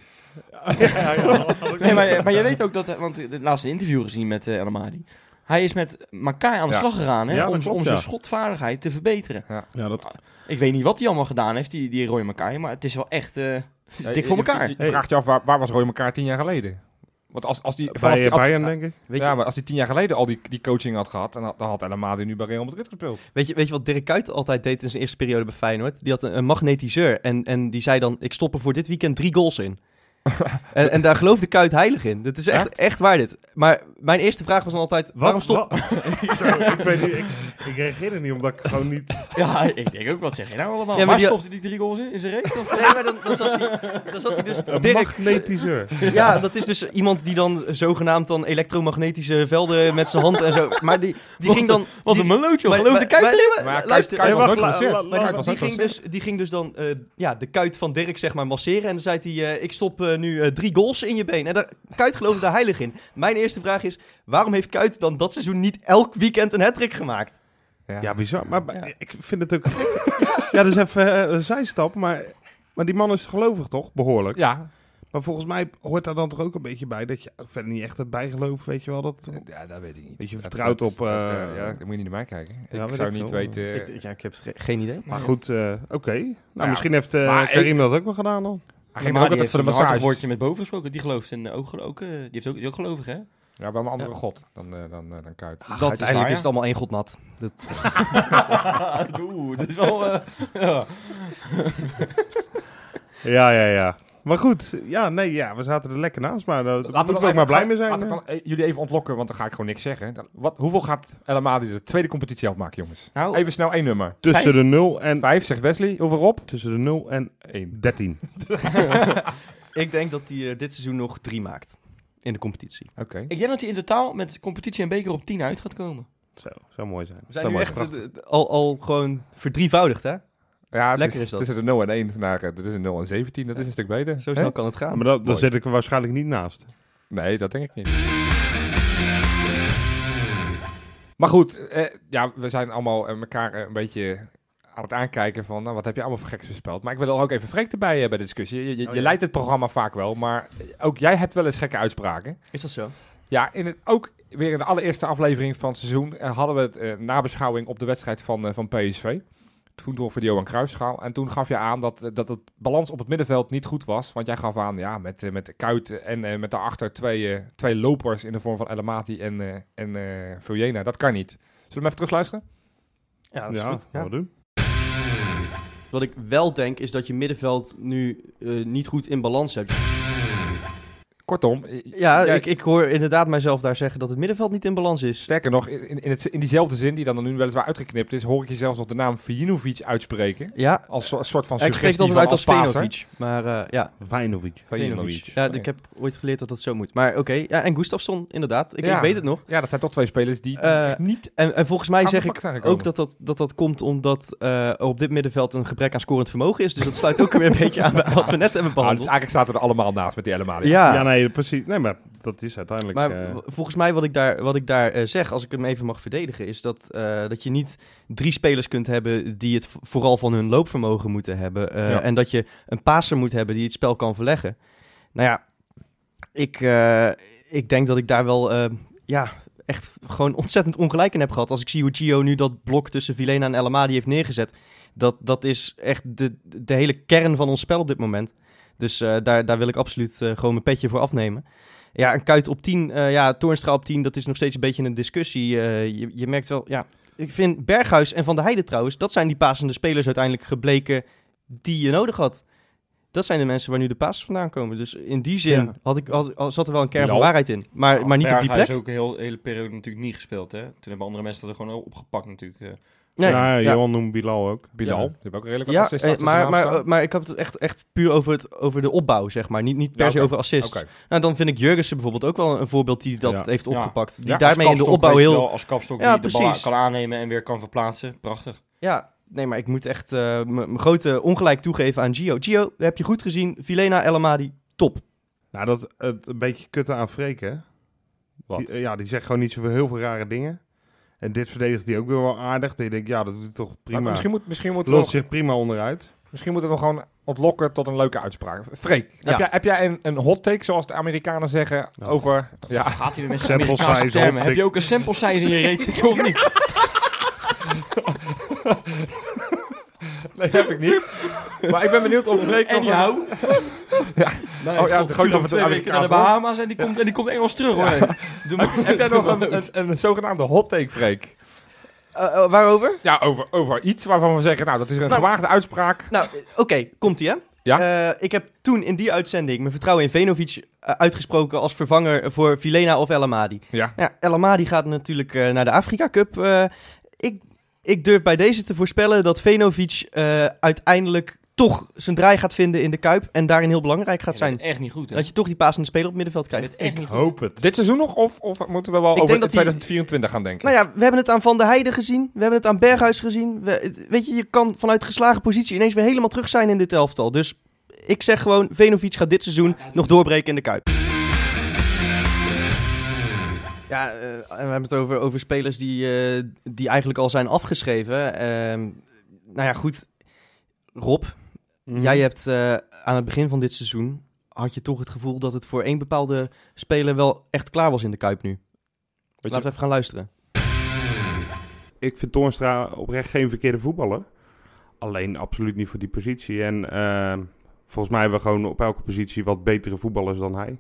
C: Nee, maar, maar je weet ook dat... eh, Want het laatste interview gezien met eh El Amadi. Hij is met elkaar aan de
A: Ja.
C: slag gegaan hè,
D: Ja, dat
C: om,
D: klopt,
C: om zijn
D: ja.
C: schotvaardigheid te verbeteren.
D: Ja, dat
C: Ik weet niet wat hij allemaal gedaan heeft, die, die Roy Makai, maar het is wel echt eh, het is dik voor
A: Je- je-
C: elkaar.
A: Je, je vraagt je af, waar, waar was Roy elkaar tien jaar geleden? Want als, als die, vanaf
D: bij
A: die-
D: eh,
A: had-
D: Bayern, denk ik.
B: Weet,
A: ja,
B: je,
A: maar als hij tien jaar geleden al die, die coaching had gehad, dan had, dan had El Amadi nu bij Real Madrid gespeeld.
B: weet, je, weet je wat Dirk Kuyt altijd deed in zijn eerste periode bij Feyenoord? Die had een, een magnetiseur en, en die zei dan, ik stop er voor dit weekend drie goals in. en, en daar geloofde Kuyt heilig in. Dat is echt, echt waar dit. Maar mijn eerste vraag was dan altijd, waarom stop...
D: Wa- Zo, ik, ben nu, ik, ik reageer er niet, omdat ik gewoon niet...
C: Ja, ik denk ook, wat zeg je nou allemaal?
B: Ja, maar
C: maar Waar
B: die-
C: stopte die drie goals in? In zijn reet? Of?
B: Nee, maar dan, dan, zat hij, dan zat hij dus...
D: Een
B: Dirk,
D: eh, magnetiseur.
B: Ja, dat is dus iemand die dan zogenaamd dan elektromagnetische velden met zijn hand en zo. Maar die, die
C: Wat
B: ging
C: een-
B: dan.
C: Wat
B: die-
C: een melootje,
B: maar-
C: geloof de
B: maar-
C: kuit
B: maar-
C: alleen
B: maar-
A: Maar ja, Kuit-
B: luister,
A: Kuit was
D: Hey,
A: nooit
D: wacht, la-
A: geblesseerd.
D: la-
B: maar die,
A: Kuit was
B: die
A: nooit
B: ging dus, die ging dus dan eh, ja, de kuit van Dirk zeg maar masseren. En dan zei hij, eh, ik stop eh, nu eh, drie goals in je been. En daar, Kuit geloofde daar heilig in. Mijn eerste vraag is, waarom heeft Kuit dan dat seizoen niet elk weekend een hat-trick gemaakt?
D: dus- Ja, bizar. Maar bij-
C: Ja.
D: ik vind het ook... ja, dat is even eh, een zijstap, maar... Maar die man is gelovig toch? Behoorlijk.
A: Ja,
D: Maar volgens mij hoort daar dan toch ook een beetje bij dat je verder niet echt het bijgeloof, weet je wel. Dat,
A: ja, dat weet ik niet.
D: Weet je,
A: Dat-
D: vertrouwd
A: dat-
D: op,
A: dat,
D: eh,
A: eh, ja, daar moet je niet naar mij kijken.
D: Ja,
A: ik
D: weet
A: zou
D: ik
A: niet
D: veel.
A: weten...
B: Ik, ja, ik heb ge- geen idee.
D: maar goed, eh, oké. Nou,
A: ja,
D: misschien heeft eh,
A: maar ik-
D: Karim dat ook wel gedaan dan.
A: hij ging er ook altijd voor de massage.
C: woordje met boven gesproken. Die gelooft in ook, ook, eh, die heeft ook, die is ook gelovig, hè?
A: Ja, wel een andere god dan, eh, dan, eh, dan Kuit.
B: Ach,
C: dat is
B: uiteindelijk is,
C: waar, ja.
B: het allemaal één god nat. Dat,
C: Oeh, Ah, dat is wel... eh, ja.
D: Ja, ja, ja. Maar goed, ja, nee, ja, we zaten er lekker naast, maar daar
A: Laten
D: moeten
A: we
D: we
A: dan
D: ook
A: even
D: maar blij
A: gaan-
D: mee zijn.
A: Laten we
D: hè?
A: dan, eh, jullie even ontlokken, want dan ga ik gewoon niks zeggen. Dan- wat, hoeveel gaat El Amadi de tweede competitie afmaken, jongens?
C: Nou,
A: Even snel één nummer.
D: Tussen
C: Vijf.
D: de 0 en...
A: Vijf, zegt Wesley. Hoeveel Rob?
D: Tussen de 0 en
A: Eén.
D: 13.
B: ik denk dat hij er dit seizoen nog drie maakt in de competitie.
A: Oké.
C: ik denk dat hij in totaal met competitie en beker op 10 uit gaat komen.
D: Zo, zou mooi zijn.
B: We zijn
A: Dat
B: nu
A: wordt
B: echt eh, al, al gewoon verdrievoudigd, hè?
A: Ja, het
B: Lekker
A: is,
B: is dat.
A: Tussen de 0 en 1 naar, eh, dit is een 0 en 17. Dat is een stuk beter.
B: Zo
A: Hè?
B: snel kan het gaan.
D: maar dat,
A: mooi.
D: dan zit ik er waarschijnlijk niet naast.
A: Nee, dat denk ik niet. Maar goed, eh, ja, we zijn allemaal eh, elkaar eh, een beetje aan het aankijken van, nou, wat heb je allemaal voor geks voorspeld? Maar ik wil er ook even Freek erbij hebben bij de discussie. Je, je, je leidt het programma vaak wel, maar ook jij hebt wel eens gekke uitspraken.
B: Is dat zo?
A: Ja, in het, ook weer in de allereerste aflevering van het seizoen eh, hadden we het eh, nabeschouwing op de wedstrijd van, eh, van PSV. Toen voor de Johan Cruijffschaal. En toen gaf je aan dat, eh, dat het balans op het middenveld niet goed was. Want jij gaf aan, ja, met, eh, met Kuit en eh, met daarachter twee, eh, twee lopers in de vorm van Elamati en, eh en eh Vuljena. Dat kan niet. Zullen we hem even terugluisteren?
B: Ja,
D: ja, gaan we doen.
B: Wat ik wel denk is dat je middenveld nu eh, niet goed in balans hebt.
A: Kortom, eh,
B: Ja,
A: jij-
B: ik, ik hoor inderdaad mijzelf daar zeggen dat het middenveld niet in balans is.
A: sterker nog, in, in, het, in diezelfde zin die dan nu weliswaar uitgeknipt is, hoor ik je zelfs nog de naam Vijinovic uitspreken.
B: Ja,
A: Als so- soort van
B: ik
A: suggestie
B: spreek dat altijd
A: van
B: uit als
A: passer.
B: Venovic. Maar eh, ja,
D: Vajnovic.
A: Vejinovic.
B: Ja, ik heb ooit geleerd dat dat zo moet. Maar oké, ja, en Gustafsson inderdaad. Ik,
A: Ja.
B: ik weet het nog.
A: Ja, dat zijn toch twee spelers die die
B: Eh,
A: echt niet
B: En, en volgens mij
A: aan
B: zeg
A: de bak
B: ik
A: zijn gekomen.
B: ook dat dat, dat dat komt omdat eh, er op dit middenveld een gebrek aan scorend vermogen is. Dus dat sluit ook weer een beetje aan bij wat we net hebben
A: Ah, dus
B: behandeld.
A: eigenlijk zaten we er allemaal naast met die Elamadi.
B: Ja,
D: Ja, nee, precies. Nee, maar dat is uiteindelijk...
B: Maar
D: eh,
B: w- volgens mij wat ik daar, wat ik daar eh, zeg, als ik hem even mag verdedigen, is dat, eh, dat je niet drie spelers kunt hebben die het v- vooral van hun loopvermogen moeten hebben. eh,
A: Ja.
B: En dat je een passer moet hebben die het spel kan verleggen. Nou ja, ik, eh, ik denk dat ik daar wel eh, ja, echt gewoon ontzettend ongelijk in heb gehad. Als ik zie hoe Gio nu dat blok tussen Vilena en El Amadi heeft neergezet. Dat, dat is echt de, de hele kern van ons spel op dit moment. Dus eh, daar, daar wil ik absoluut eh, gewoon mijn petje voor afnemen. Ja, een kuit op 10, eh, ja, Toornstra op 10, dat is nog steeds een beetje een discussie. Eh, je, je merkt wel, ja, ik vind Berghuis en Van der Heijden trouwens, dat zijn die pasende spelers uiteindelijk gebleken die je nodig had. Dat zijn de mensen waar nu de passes vandaan komen. Dus in die zin
D: Ja.
B: had ik, had, had- zat er wel een kern van
A: Bilal.
B: waarheid in. Maar, Eh, maar niet op die plek.
C: is ook een heel, hele periode natuurlijk niet gespeeld. Hè? Toen hebben andere mensen dat er gewoon opgepakt natuurlijk. eh.
B: Nee,
D: ja,
B: ja.
D: Johan noemt Bilal ook.
A: Bilal,
F: Ja.
A: die hebben ook redelijk wat
B: Ja,
A: assists
B: eh,
A: achter zijn
B: maar,
A: naam
B: maar,
A: staan.
B: maar ik heb het echt, echt puur over, het, over de opbouw, zeg maar. Niet, niet per
A: Ja,
B: se
A: oké.
B: over assists.
A: Oké.
B: Nou, dan vind ik Jurgensen bijvoorbeeld ook wel een voorbeeld die dat
D: Ja.
B: heeft
C: Ja.
B: opgepakt. Die
A: Ja, als
B: daarmee in de
C: Kapstok,
B: opbouw
C: weet je
B: heel...
C: wel, als kapstok
B: Ja,
C: die de bal
B: precies.
C: kan aannemen en weer kan verplaatsen. Prachtig.
B: Ja, nee, maar ik moet echt eh, m- mijn grote ongelijk toegeven aan Gio. Gio, dat heb je goed gezien. Vilena Elamadi, top.
D: Nou, dat het een beetje kutten aan Freek, hè?
A: Wat?
D: Die, eh, ja, die zegt gewoon niet zoveel heel veel rare dingen. En dit verdedigt hij ook weer wel aardig. Dan denk ik, ja, dat doet hij toch
A: Maar
D: prima.
A: Misschien, moet, misschien, moeten we,
D: Lost
A: nog-
D: zich prima onderuit.
A: misschien moeten we hem gewoon ontlokken tot een leuke uitspraak. Freek,
B: Ja.
A: heb jij, heb jij een, een hot take, zoals de Amerikanen zeggen,
D: Ja.
A: over... Ja,
C: Gaat hij er met zijn
D: Sample
C: Amerikaanse
D: size
C: termen?
D: op,
C: Heb je
D: ik-
C: ook een sample size in je reet zitten of niet?
A: nee, heb ik niet. maar ik ben benieuwd of Freek nog... een-
C: Anyhow.
A: Oh ja, het
C: God,
A: gooit
C: Guido
A: over
C: twee weken naar
A: het
C: de
A: Amerikaans
C: Bahama's en die komt, en die komt Engels terug hoor. Doe maar-
A: Heb jij nog
C: doe
A: een,
C: maar-
A: een, een zogenaamde hot take, Freek?
B: Eh, eh, waarover?
A: Ja, over, over iets waarvan we zeggen, nou, dat is een
B: Nou.
A: gewaagde uitspraak.
B: Nou, eh, oké, komt-ie hè. Eh, ik heb toen in die uitzending mijn vertrouwen in Venovic eh, uitgesproken als vervanger voor Vilena of Elamadi.
A: Ja.
B: Ja, El Amadi gaat natuurlijk eh, naar de Afrika Cup. Eh, ik, ik durf bij deze te voorspellen dat Venovic eh, uiteindelijk toch zijn draai gaat vinden in de Kuip. En daarin heel belangrijk gaat
C: Ja, dat
B: zijn.
C: is echt niet goed hè.
B: Dat je toch die paas in de speler op het middenveld
C: Dat
B: krijgt.
C: is echt niet goed.
D: Hoop het.
A: Dit seizoen nog, of, of moeten we wel
B: Ik
A: over
B: denk dat die-
A: 2024 gaan denken?
B: Nou ja, we hebben het aan Van der Heijden gezien. We hebben het aan Berghuis gezien. We- het- weet je, je kan vanuit geslagen positie ineens weer helemaal terug zijn in dit elftal. Dus ik zeg gewoon, Venovic gaat dit seizoen nog doorbreken in de Kuip. Ja, eh, en we hebben het over, over spelers die, eh, die eigenlijk al zijn afgeschreven. Ehm, nou ja, goed. Rob,
D: Mhm.
B: Jij hebt eh, aan het begin van dit seizoen had je toch het gevoel dat het voor één bepaalde speler wel echt klaar was in de Kuip nu. Laten we even gaan luisteren.
D: Ik vind Toornstra oprecht geen verkeerde voetballer. Alleen absoluut niet voor die positie. En eh, volgens mij hebben we gewoon op elke positie wat betere voetballers dan hij.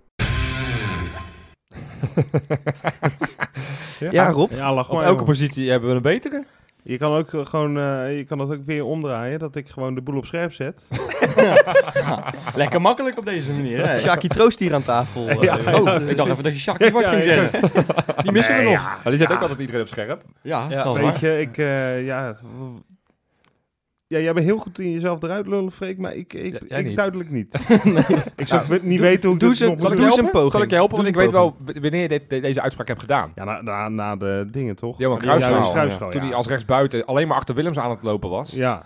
B: Ja, Rob.
D: Ja, lach
A: Op
D: maar.
A: elke
D: jongen.
A: positie hebben we een betere.
D: Je kan, ook gewoon, eh, je kan dat ook weer omdraaien. Dat ik gewoon de boel op scherp zet.
C: Lekker makkelijk op deze manier. hè?
B: Sjaki Troost hier aan tafel. eh,
C: Oh, ik dacht even dat je Jacques wat ging zeggen. Die missen we nog.
A: Maar die zet ook altijd iedereen op scherp.
C: Ja,
B: Ja,
C: dat is
D: Weet
C: waar.
D: je, ik... eh, ja, w- ja, jij bent heel goed in jezelf eruit lullen, Freek. Maar ik, ik,
A: Ja, jij
D: ik
A: niet.
D: duidelijk niet. Ik zou het niet weten hoe ik
B: doe
D: dit
B: ze-
D: nog
B: zal
D: moet
A: Zal ik
B: Doe
A: je
B: eens
D: doen.
B: een
A: helpen?
B: poging.
A: Zal ik je helpen?
D: Doe
A: Want ik
D: eens
A: weet
D: een
A: wel w- wanneer je dit- de- deze uitspraak hebt gedaan.
D: Ja, na, na, na de dingen, toch?
A: Johan
D: Ja,
A: Cruijffschaal,
D: Johan Cruijffschaal,
A: Toen
D: Oh, ja.
A: hij als rechtsbuiten alleen maar achter Willems aan het lopen was.
D: Ja.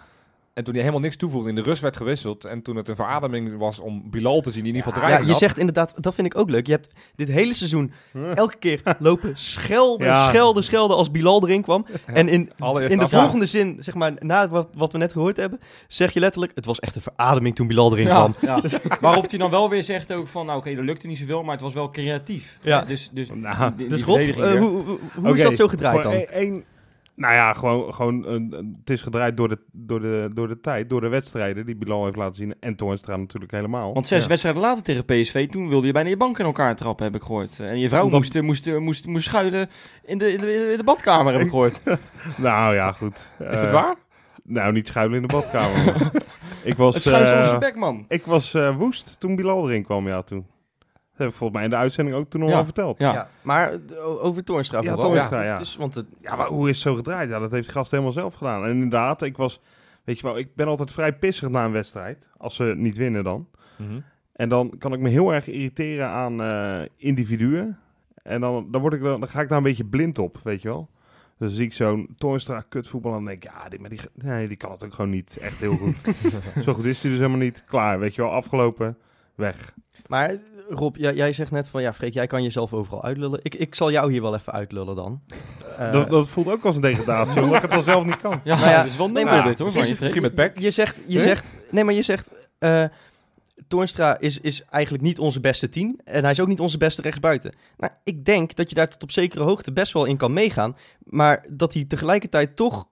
A: En toen hij helemaal niks toevoegde. In de rust werd gewisseld. En toen het een verademing was om Bilal te zien die in ieder geval
B: ja,
A: dreiging
B: je
A: had.
B: zegt inderdaad, dat vind ik ook leuk. Je hebt dit hele seizoen elke keer lopen schelden,
D: Ja.
B: schelden, schelden als Bilal erin kwam. En in,
A: Allereerst
B: in de
A: afgaan.
B: volgende zin, zeg maar, na wat, wat we net gehoord hebben, zeg je letterlijk, het was echt een verademing toen Bilal erin
C: Ja,
B: kwam.
C: ja. Waarop hij dan wel weer zegt ook van, nou oké, dat lukte niet zoveel, maar het was wel creatief.
B: Ja.
C: Dus, dus
D: Nou,
C: die- die
B: Dus Rob,
C: verdediging
B: eh,
C: weer.
B: hoe, hoe, hoe is
D: Oké,
B: dat zo gedraaid
D: voor
B: dan?
D: één- één- nou ja, gewoon, gewoon een, een- het is gedraaid door de, door, de, door de tijd, door de wedstrijden die Bilal heeft laten zien. En Toornstra natuurlijk helemaal.
C: Want zes wedstrijden later tegen PSV, toen wilde je bijna je bank in elkaar trappen, heb ik gehoord. En je vrouw
D: Omdat-
C: moest, eh, moest, moest, moest schuilen in de, in, de, in de badkamer, heb ik gehoord.
D: nou ja, goed.
A: Is dat
D: Eh,
A: waar?
D: Nou, niet schuilen in de badkamer. ik was,
C: Het schuilt
D: eh,
C: soms zijn bek, man.
D: ik was eh, woest toen Bilal erin kwam, ja, toen. Dat heb ik volgens mij in de uitzending ook toen al
C: Ja.
D: wel verteld.
C: Ja.
B: Ja, maar eh, o- over Toornstra
D: Ja,
B: vooral.
D: Toornstra, ja.
B: Dus, want het,
D: Ja, maar hoe is het zo gedraaid? Ja, dat heeft de gast helemaal zelf gedaan. En inderdaad, ik was... Weet je wel, ik ben altijd vrij pissig na een wedstrijd. Als ze niet winnen dan. En dan kan ik me heel erg irriteren aan eh, individuen. En dan, dan, word ik, dan, dan ga ik daar een beetje blind op, weet je wel. Dus dan zie ik zo'n Toornstra kutvoetbal en dan denk ik, ja, die, maar die, nee, die kan het ook gewoon niet echt heel goed. Zo goed is hij dus helemaal niet. Klaar, weet je wel, afgelopen. weg.
B: Maar eh, Rob, jij, jij zegt net van ja, Freek, jij kan jezelf overal uitlullen. Ik, ik zal jou hier wel even uitlullen dan. Eh,
D: dat, dat voelt ook als een degradatie, omdat ik het dan zelf niet kan.
C: Ja,
B: Nou ja,
C: dat is wel
B: nee,
C: nee,
B: maar-
C: dit hoor. van
B: is
C: je,
B: het-
C: Freek.
A: Misschien met Peck.
B: Je zegt, je
A: Huh?
B: zegt, nee, maar je zegt, eh Toornstra is, is eigenlijk niet onze beste tien en hij is ook niet onze beste rechtsbuiten. Nou, ik denk dat je daar tot op zekere hoogte best wel in kan meegaan, maar dat hij tegelijkertijd toch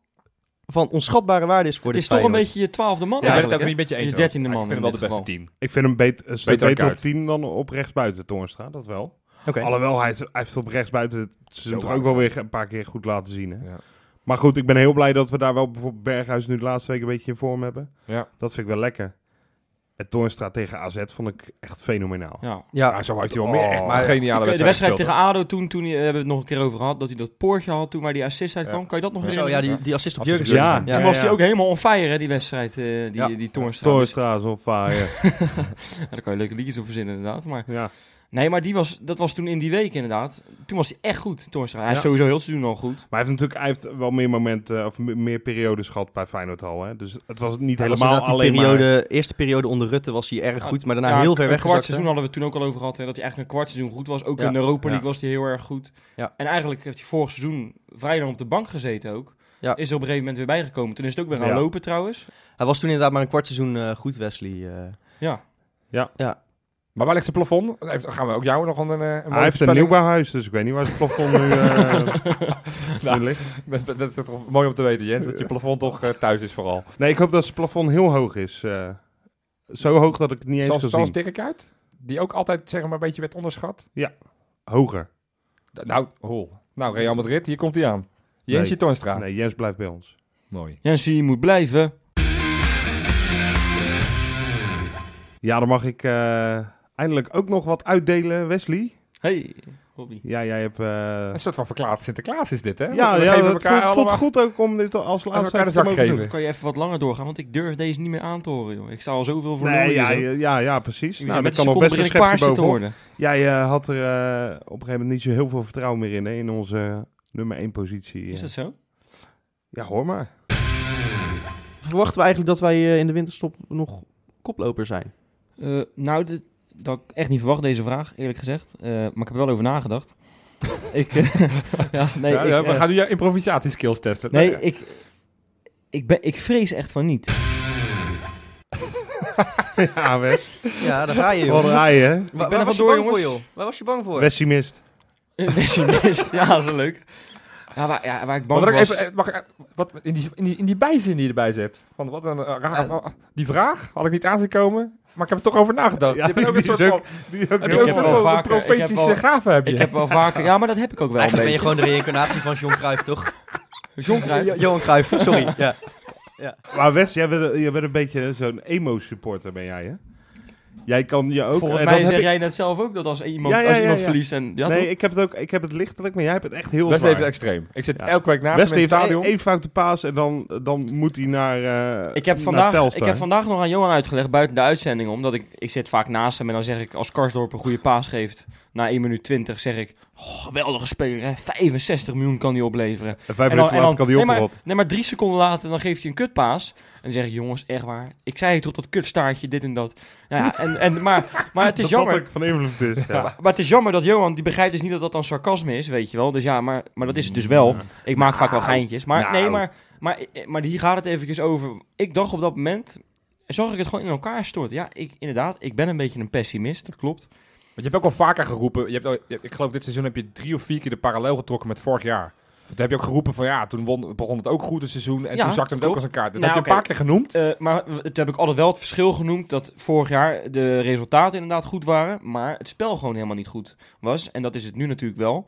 B: van onschatbare waarde is voor
C: Het
B: dit
C: is toch een
B: Feyenoord.
C: beetje je twaalfde man
A: Ja, ik ben het
C: eigenlijk.
A: ook
C: hè?
A: niet met je eens.
C: Je dertiende
A: hoor.
C: man
A: Ik vind
C: in
A: hem
C: dit
A: wel de beste
C: geval.
A: tien.
D: Ik vind hem beter, een stuk
A: Betere
D: beter op
A: kaart.
D: 10 dan op rechtsbuiten Toornstra, dat wel.
B: Oké.
D: Alhoewel, hij, hij heeft op rechtsbuiten het seizoen toch
A: laat
D: ook wel weer een paar keer goed laten zien. Hè?
A: Ja.
D: Maar goed, ik ben heel blij dat we daar wel bijvoorbeeld Berghuis nu de laatste week een beetje in vorm hebben.
A: Ja.
D: Dat vind ik wel lekker. En Toornstra tegen AZ vond ik echt fenomenaal.
C: Ja.
B: Ja,
A: Ja, Nou, zo heeft hij wel meer echt
D: Oh.
A: een geniale
C: De
A: wedstrijd
C: wedstrijd
A: gespeeld,
C: tegen ADO toen, toen die- hebben we het nog een keer over gehad, dat hij dat poortje had toen waar die assist uit
A: Ja.
C: kwam. Kan je dat nog
A: Ja.
B: zo,
C: herinneren?
B: ja die, die assist op
A: Assist
B: Jurgen.
A: op Jurgensen.
D: Ja.
C: Toen was hij
D: ja.
C: ook helemaal on fire, hè, die wedstrijd, eh, die,
B: Ja.
C: die Toornstra.
D: Toornstra is on fire.
C: Dus- ja, daar kan je leuke liedjes op verzinnen inderdaad. Maar,
D: ja.
C: nee, maar die was, dat was toen in die week inderdaad. Toen was hij echt goed, Toornstra. Hij is
D: Ja.
C: sowieso heel het seizoen al goed.
D: Maar hij heeft natuurlijk hij heeft wel meer momenten, eh, of me- meer periodes gehad bij Feyenoord al. Hè? Dus het was niet
B: Hij was
D: helemaal
B: inderdaad die
D: alleen
B: periode, eerste periode onder Rutte was hij erg goed, maar daarna
D: Nou,
C: Ja,
B: heel ver
C: Een kwart
B: weggezakt.
C: seizoen
B: hè?
C: hadden we het toen ook al over gehad. Hè, dat hij echt een kwart seizoen goed was. Ook
B: Ja.
C: in de Europa League
D: Ja.
C: was hij heel erg goed.
B: Ja.
C: En eigenlijk heeft hij vorig seizoen vrij lang op de bank gezeten ook.
B: Ja.
C: Is er op een gegeven moment weer bijgekomen. Toen is het ook weer gaan
D: Ja.
C: lopen trouwens.
B: Hij was toen inderdaad maar een kwart seizoen eh, goed, Wesley. eh.
C: Ja.
A: hoor. Maar waar ligt zijn plafond? Dan heeft- gaan we ook jou nog een, eh, een
D: Maar... Hij
A: mooie
D: heeft een
A: voorspelling-
D: nieuwbouwhuis, dus ik weet niet waar zijn plafond nu, eh,
A: Nou,
D: nu ligt.
A: Dat, dat is toch mooi om te weten, Jens. Dat je plafond toch eh, thuis is vooral.
D: Nee, ik hoop dat zijn plafond heel hoog is. eh. zo hoog dat ik het niet eens
A: Zoals,
D: kan
A: zoals
D: zien.
A: Dirk uit, die ook altijd zeg maar een beetje werd onderschat.
D: Hoger.
A: D- Nou, hol. Nou, Real Madrid, hier komt hij aan. Jensje
D: Nee.
A: Toornstra.
D: Nee, Jens blijft bij ons.
A: Mooi.
C: Jensie, je moet blijven.
D: Ja, dan mag ik eh, eindelijk ook nog wat uitdelen, Wesley.
C: Hey, Robby.
D: Ja, jij hebt... eh,
A: Een soort van verklaard Sinterklaas is dit, hè?
D: ja,
A: we
D: ja het
A: geven elkaar
D: voelt, voelt
A: allemaal
D: goed ook om dit als
A: aan
D: laatste
A: elkaar de
D: even te
A: zak
D: mogen doen.
A: geven.
C: Kan je even wat langer doorgaan? Want ik durf deze niet meer aan te horen, joh. Ik sta al zoveel voor
D: Nee, ja,
C: ja,
D: ja, ja, ja, precies. Nou,
C: met
D: dat kan nog best een schepje
C: paars te
D: bovenop.
C: worden.
D: Jij eh, had er eh, op een gegeven moment niet zo heel veel vertrouwen meer in, hè, in onze eh, nummer 1 positie.
C: Is
D: eh.
C: dat zo?
D: Ja, hoor maar.
B: Verwachten we eigenlijk dat wij eh, in de winterstop nog koploper zijn?
C: Eh, nou, dit- dat had ik echt niet verwacht, deze vraag, eerlijk gezegd. Eh, maar ik heb er wel over nagedacht. ik, eh, ja, nee,
A: Ja,
C: ik,
A: ja, we
C: eh,
A: gaan nu jouw improvisatieskills testen.
C: Nee,
A: Nou,
C: ik, ik, ben, ik vrees echt van niet.
D: ja, Wes.
B: Ja, daar ga je,
D: Wat raai, hè?
B: Waar,
C: ben er
B: was je
C: vandoor,
B: bang voor, joh?
C: jongens.
B: Waar was je bang voor?
D: Pessimist.
C: Pessimist, ja, zo leuk. Ja, waar, ja, waar ik bang
A: Maar wat ik
C: was...
A: even, eh, mag ik, eh, wat, in, die, in, die, in die bijzin die je erbij zet. Van wat een, eh, raar- die vraag had ik niet aan zien komen, maar ik heb er toch over nagedacht.
D: Ja,
A: je bent ook
D: die
A: een soort
D: is
A: van,
D: ook- Die ook
A: heb
D: heel
A: je ook een
C: heb
A: soort
C: wel
A: van
C: vaker- ik heb
A: profetische
C: wel-
A: gave heb je.
C: Ik heb wel vaker... Ja, maar dat heb ik ook wel een
B: Eigenlijk ben je
C: beetje.
B: gewoon de reïncarnatie van John Cruijff, toch?
C: John Cruijff.
B: Jo- Johan Cruijff, sorry. Ja.
D: Maar Wes, jij bent, jij bent een beetje zo'n emo-supporter, ben jij, hè? Jij kan je ook...
C: Volgens
D: en
C: mij
D: dat
C: zeg
D: heb
C: jij net zelf ook dat als iemand,
D: Ja, ja,
C: als
D: ja,
C: iemand
D: ja.
C: verliest en... Ja,
D: ik, nee,
C: toch?
D: ik heb, het ook, ik heb het lichtelijk, maar jij hebt het echt heel
A: Wesley heeft
D: zwaar.
A: het extreem. Ik zit
D: Ja.
A: elke week naast
D: Wesley
A: hem in
D: heeft
A: het
D: één
A: stadion.
D: één foute paas en dan, dan moet hij naar eh,
C: Ik heb,
D: naar
C: vandaag,
D: Telstar.
C: ik heb vandaag nog aan Johan uitgelegd buiten de uitzending om. Dat ik, ik zit vaak naast hem en dan zeg ik als Karsdorp een goede paas geeft. Na 1 minuut 20 zeg ik. "Goh, geweldige speler, hè? 65 miljoen kan hij opleveren.
D: En vijf
C: En dan-
D: minuten later
C: en dan-
D: kan hij
C: nee, maar-
D: opgerot.
C: Nee, maar drie seconden later dan geeft hij een kutpaas. En dan zeg ik, jongens, echt waar. Ik zei tot dat kutstaartje, dit en dat. Nou ja, en, en, maar, maar het is
D: Dat
C: jammer.
D: dat ook van invloed is. Ja.
C: Maar, maar het is jammer dat Johan, die begrijpt dus niet dat dat dan sarcasme is, weet je wel. Dus ja, maar, maar dat is het dus wel. Ik maak vaak wel geintjes. Maar
D: Nou.
C: nee, maar, maar, maar hier gaat het eventjes over. Ik dacht op dat moment, zag ik het gewoon in elkaar storten. Ja, ik, inderdaad, ik ben een beetje een pessimist, dat klopt.
A: Want je hebt ook al vaker geroepen. Je hebt al- je- ik geloof dit seizoen heb je drie of vier keer de parallel getrokken met vorig jaar. Toen heb je ook geroepen van ja, toen won, begon het ook goed het seizoen. En
C: Ja,
A: toen zakte het ook
C: klopt.
A: als een kaart. Dat
C: Nou,
A: heb je een
C: oké.
A: paar keer genoemd.
C: Eh, maar w- toen heb ik altijd wel het verschil genoemd dat vorig jaar de resultaten inderdaad goed waren, maar het spel gewoon helemaal niet goed was. En dat is het nu natuurlijk wel.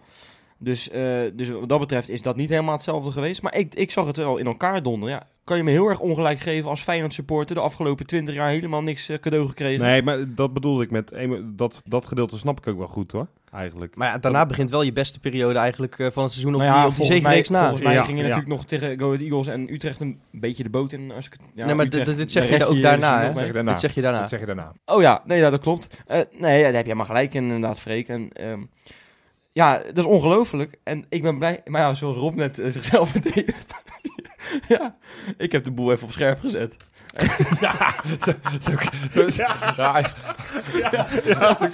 C: Dus, eh, dus wat dat betreft is dat niet helemaal hetzelfde geweest. Maar ik, ik zag het wel in elkaar donderen. Ja, kan je me heel erg ongelijk geven als Feyenoord supporter de afgelopen 20 jaar helemaal niks eh, cadeau gekregen?
D: Nee, maar dat bedoelde ik met... emo- Dat, dat gedeelte snap ik ook wel goed, hoor. Eigenlijk.
B: Maar ja, daarna begint wel je beste periode eigenlijk eh, van het seizoen op
C: Nou
B: die,
C: ja,
B: op die
C: volgens mij,
B: zegenreeks na.
C: volgens mij
D: Ja,
C: ging je
D: ja.
C: natuurlijk nog tegen Go Ahead Eagles en Utrecht een beetje de boot in. Als ik, het- ja,
B: nee, maar
C: Utrecht,
B: dit- dit
C: de
B: zeg je
C: rest
B: ook
C: hier
B: daarna,
C: is
B: hè?
C: nog mee.
A: zeg je daarna.
B: Dat zeg je daarna.
A: Dat zeg je daarna.
C: Oh ja, nee, ja, dat klopt. Eh, nee, ja, daar heb je maar gelijk in, inderdaad, Freek. En, ehm, ja, dat is ongelooflijk. En ik ben blij. Maar ja, zoals Rob net eh, zichzelf verdedigt. ja, ik heb de boel even op scherp gezet.
A: Zo is- Dus- ja,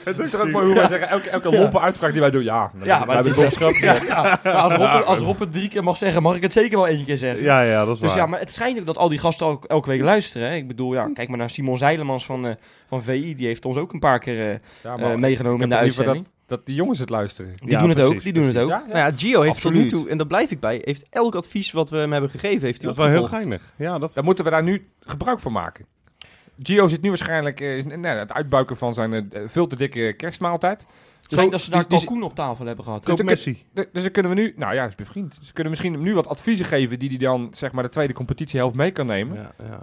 A: het is toch ook mooi hoe wij zeggen, elke, elke lompe uitspraak die wij doen, ja.
C: Ja, maar
A: wij
C: het
A: hebben
C: is-
A: toch
C: Ja, ja. Maar als Rob, als Rob het drie keer mag zeggen, mag ik het zeker wel één keer zeggen.
D: Ja, ja, dat is
C: Dus
D: waar.
C: ja, maar het schijnt ook dat al die gasten ook elke week luisteren. Hè? Ik bedoel, ja, kijk maar naar Simon Zeilemans van, eh, van VI. Die heeft ons ook een paar keer eh,
A: Ja,
C: eh,
A: maar
C: meegenomen in de
A: heb liever
C: uitzending.
A: dat die jongens het luisteren.
C: Die
D: Ja,
C: doen het
D: precies,
C: ook, die doen het ook.
A: Ja, ja.
B: Nou ja, Gio heeft
A: Absoluut.
B: tot nu toe, en daar blijf ik bij, heeft elk advies wat we hem hebben gegeven, heeft hij
D: Dat is wel heel
B: opgevolgd.
D: geinig. Ja,
C: Dus
D: dat...
A: Dan moeten we daar nu gebruik van maken. Gio zit nu waarschijnlijk eh, is, nee, het uitbuiken van zijn eh, veel te dikke kerstmaaltijd.
C: Dus Ik denk dat ze daar
D: dus
A: die- die-
C: kalkoen op tafel hebben gehad.
A: Dus
D: Koop
A: dan kun-
D: Messi.
A: Dus dus dan kunnen we nu, nou ja, is bevriend. Dus we kunnen misschien hem nu wat adviezen geven die hij dan zeg maar de tweede competitiehelft mee kan
C: Hm?
A: nemen.
D: Ja, ja.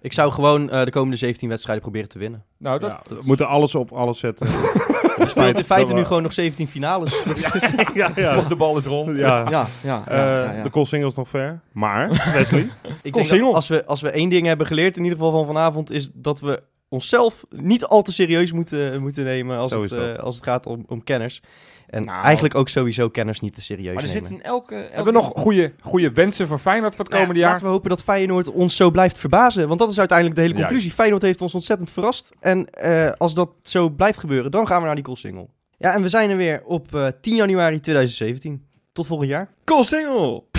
B: Ik zou gewoon eh, de komende 17 wedstrijden proberen te winnen.
C: Oh,
A: Nou, dat,
D: Ja, we moeten alles op alles zetten.
B: We speelt in feite nu
D: we-
B: gewoon nog 17 finales. Dat is-
D: ja, ja.
A: de bal is rond.
D: ja.
C: Ja, ja, ja,
D: Eh,
C: ja, ja.
D: De koolsingel is nog ver. Maar, Wesley,
B: Ik
C: Kom,
B: denk
C: single.
B: dat als we, als we één ding hebben geleerd, in ieder geval van vanavond, is dat we onszelf niet al te serieus moeten, moeten nemen als,
D: Zo
B: het,
D: is dat.
B: eh, als het gaat om, om kenners. En
C: Nou.
B: eigenlijk ook sowieso kenners niet te serieus
C: Maar er
B: nemen.
C: zit in elke... elke...
A: Hebben we nog goede, goede wensen voor Feyenoord voor het
B: Nou ja,
A: komende jaar?
B: Laten we hopen dat Feyenoord ons zo blijft verbazen. Want dat is uiteindelijk de hele conclusie. Feyenoord heeft ons ontzettend verrast. En eh, als dat zo blijft gebeuren, dan gaan we naar die single. Ja, en we zijn er weer op eh, 10 januari 2017. Tot volgend jaar.
C: Koolsingel!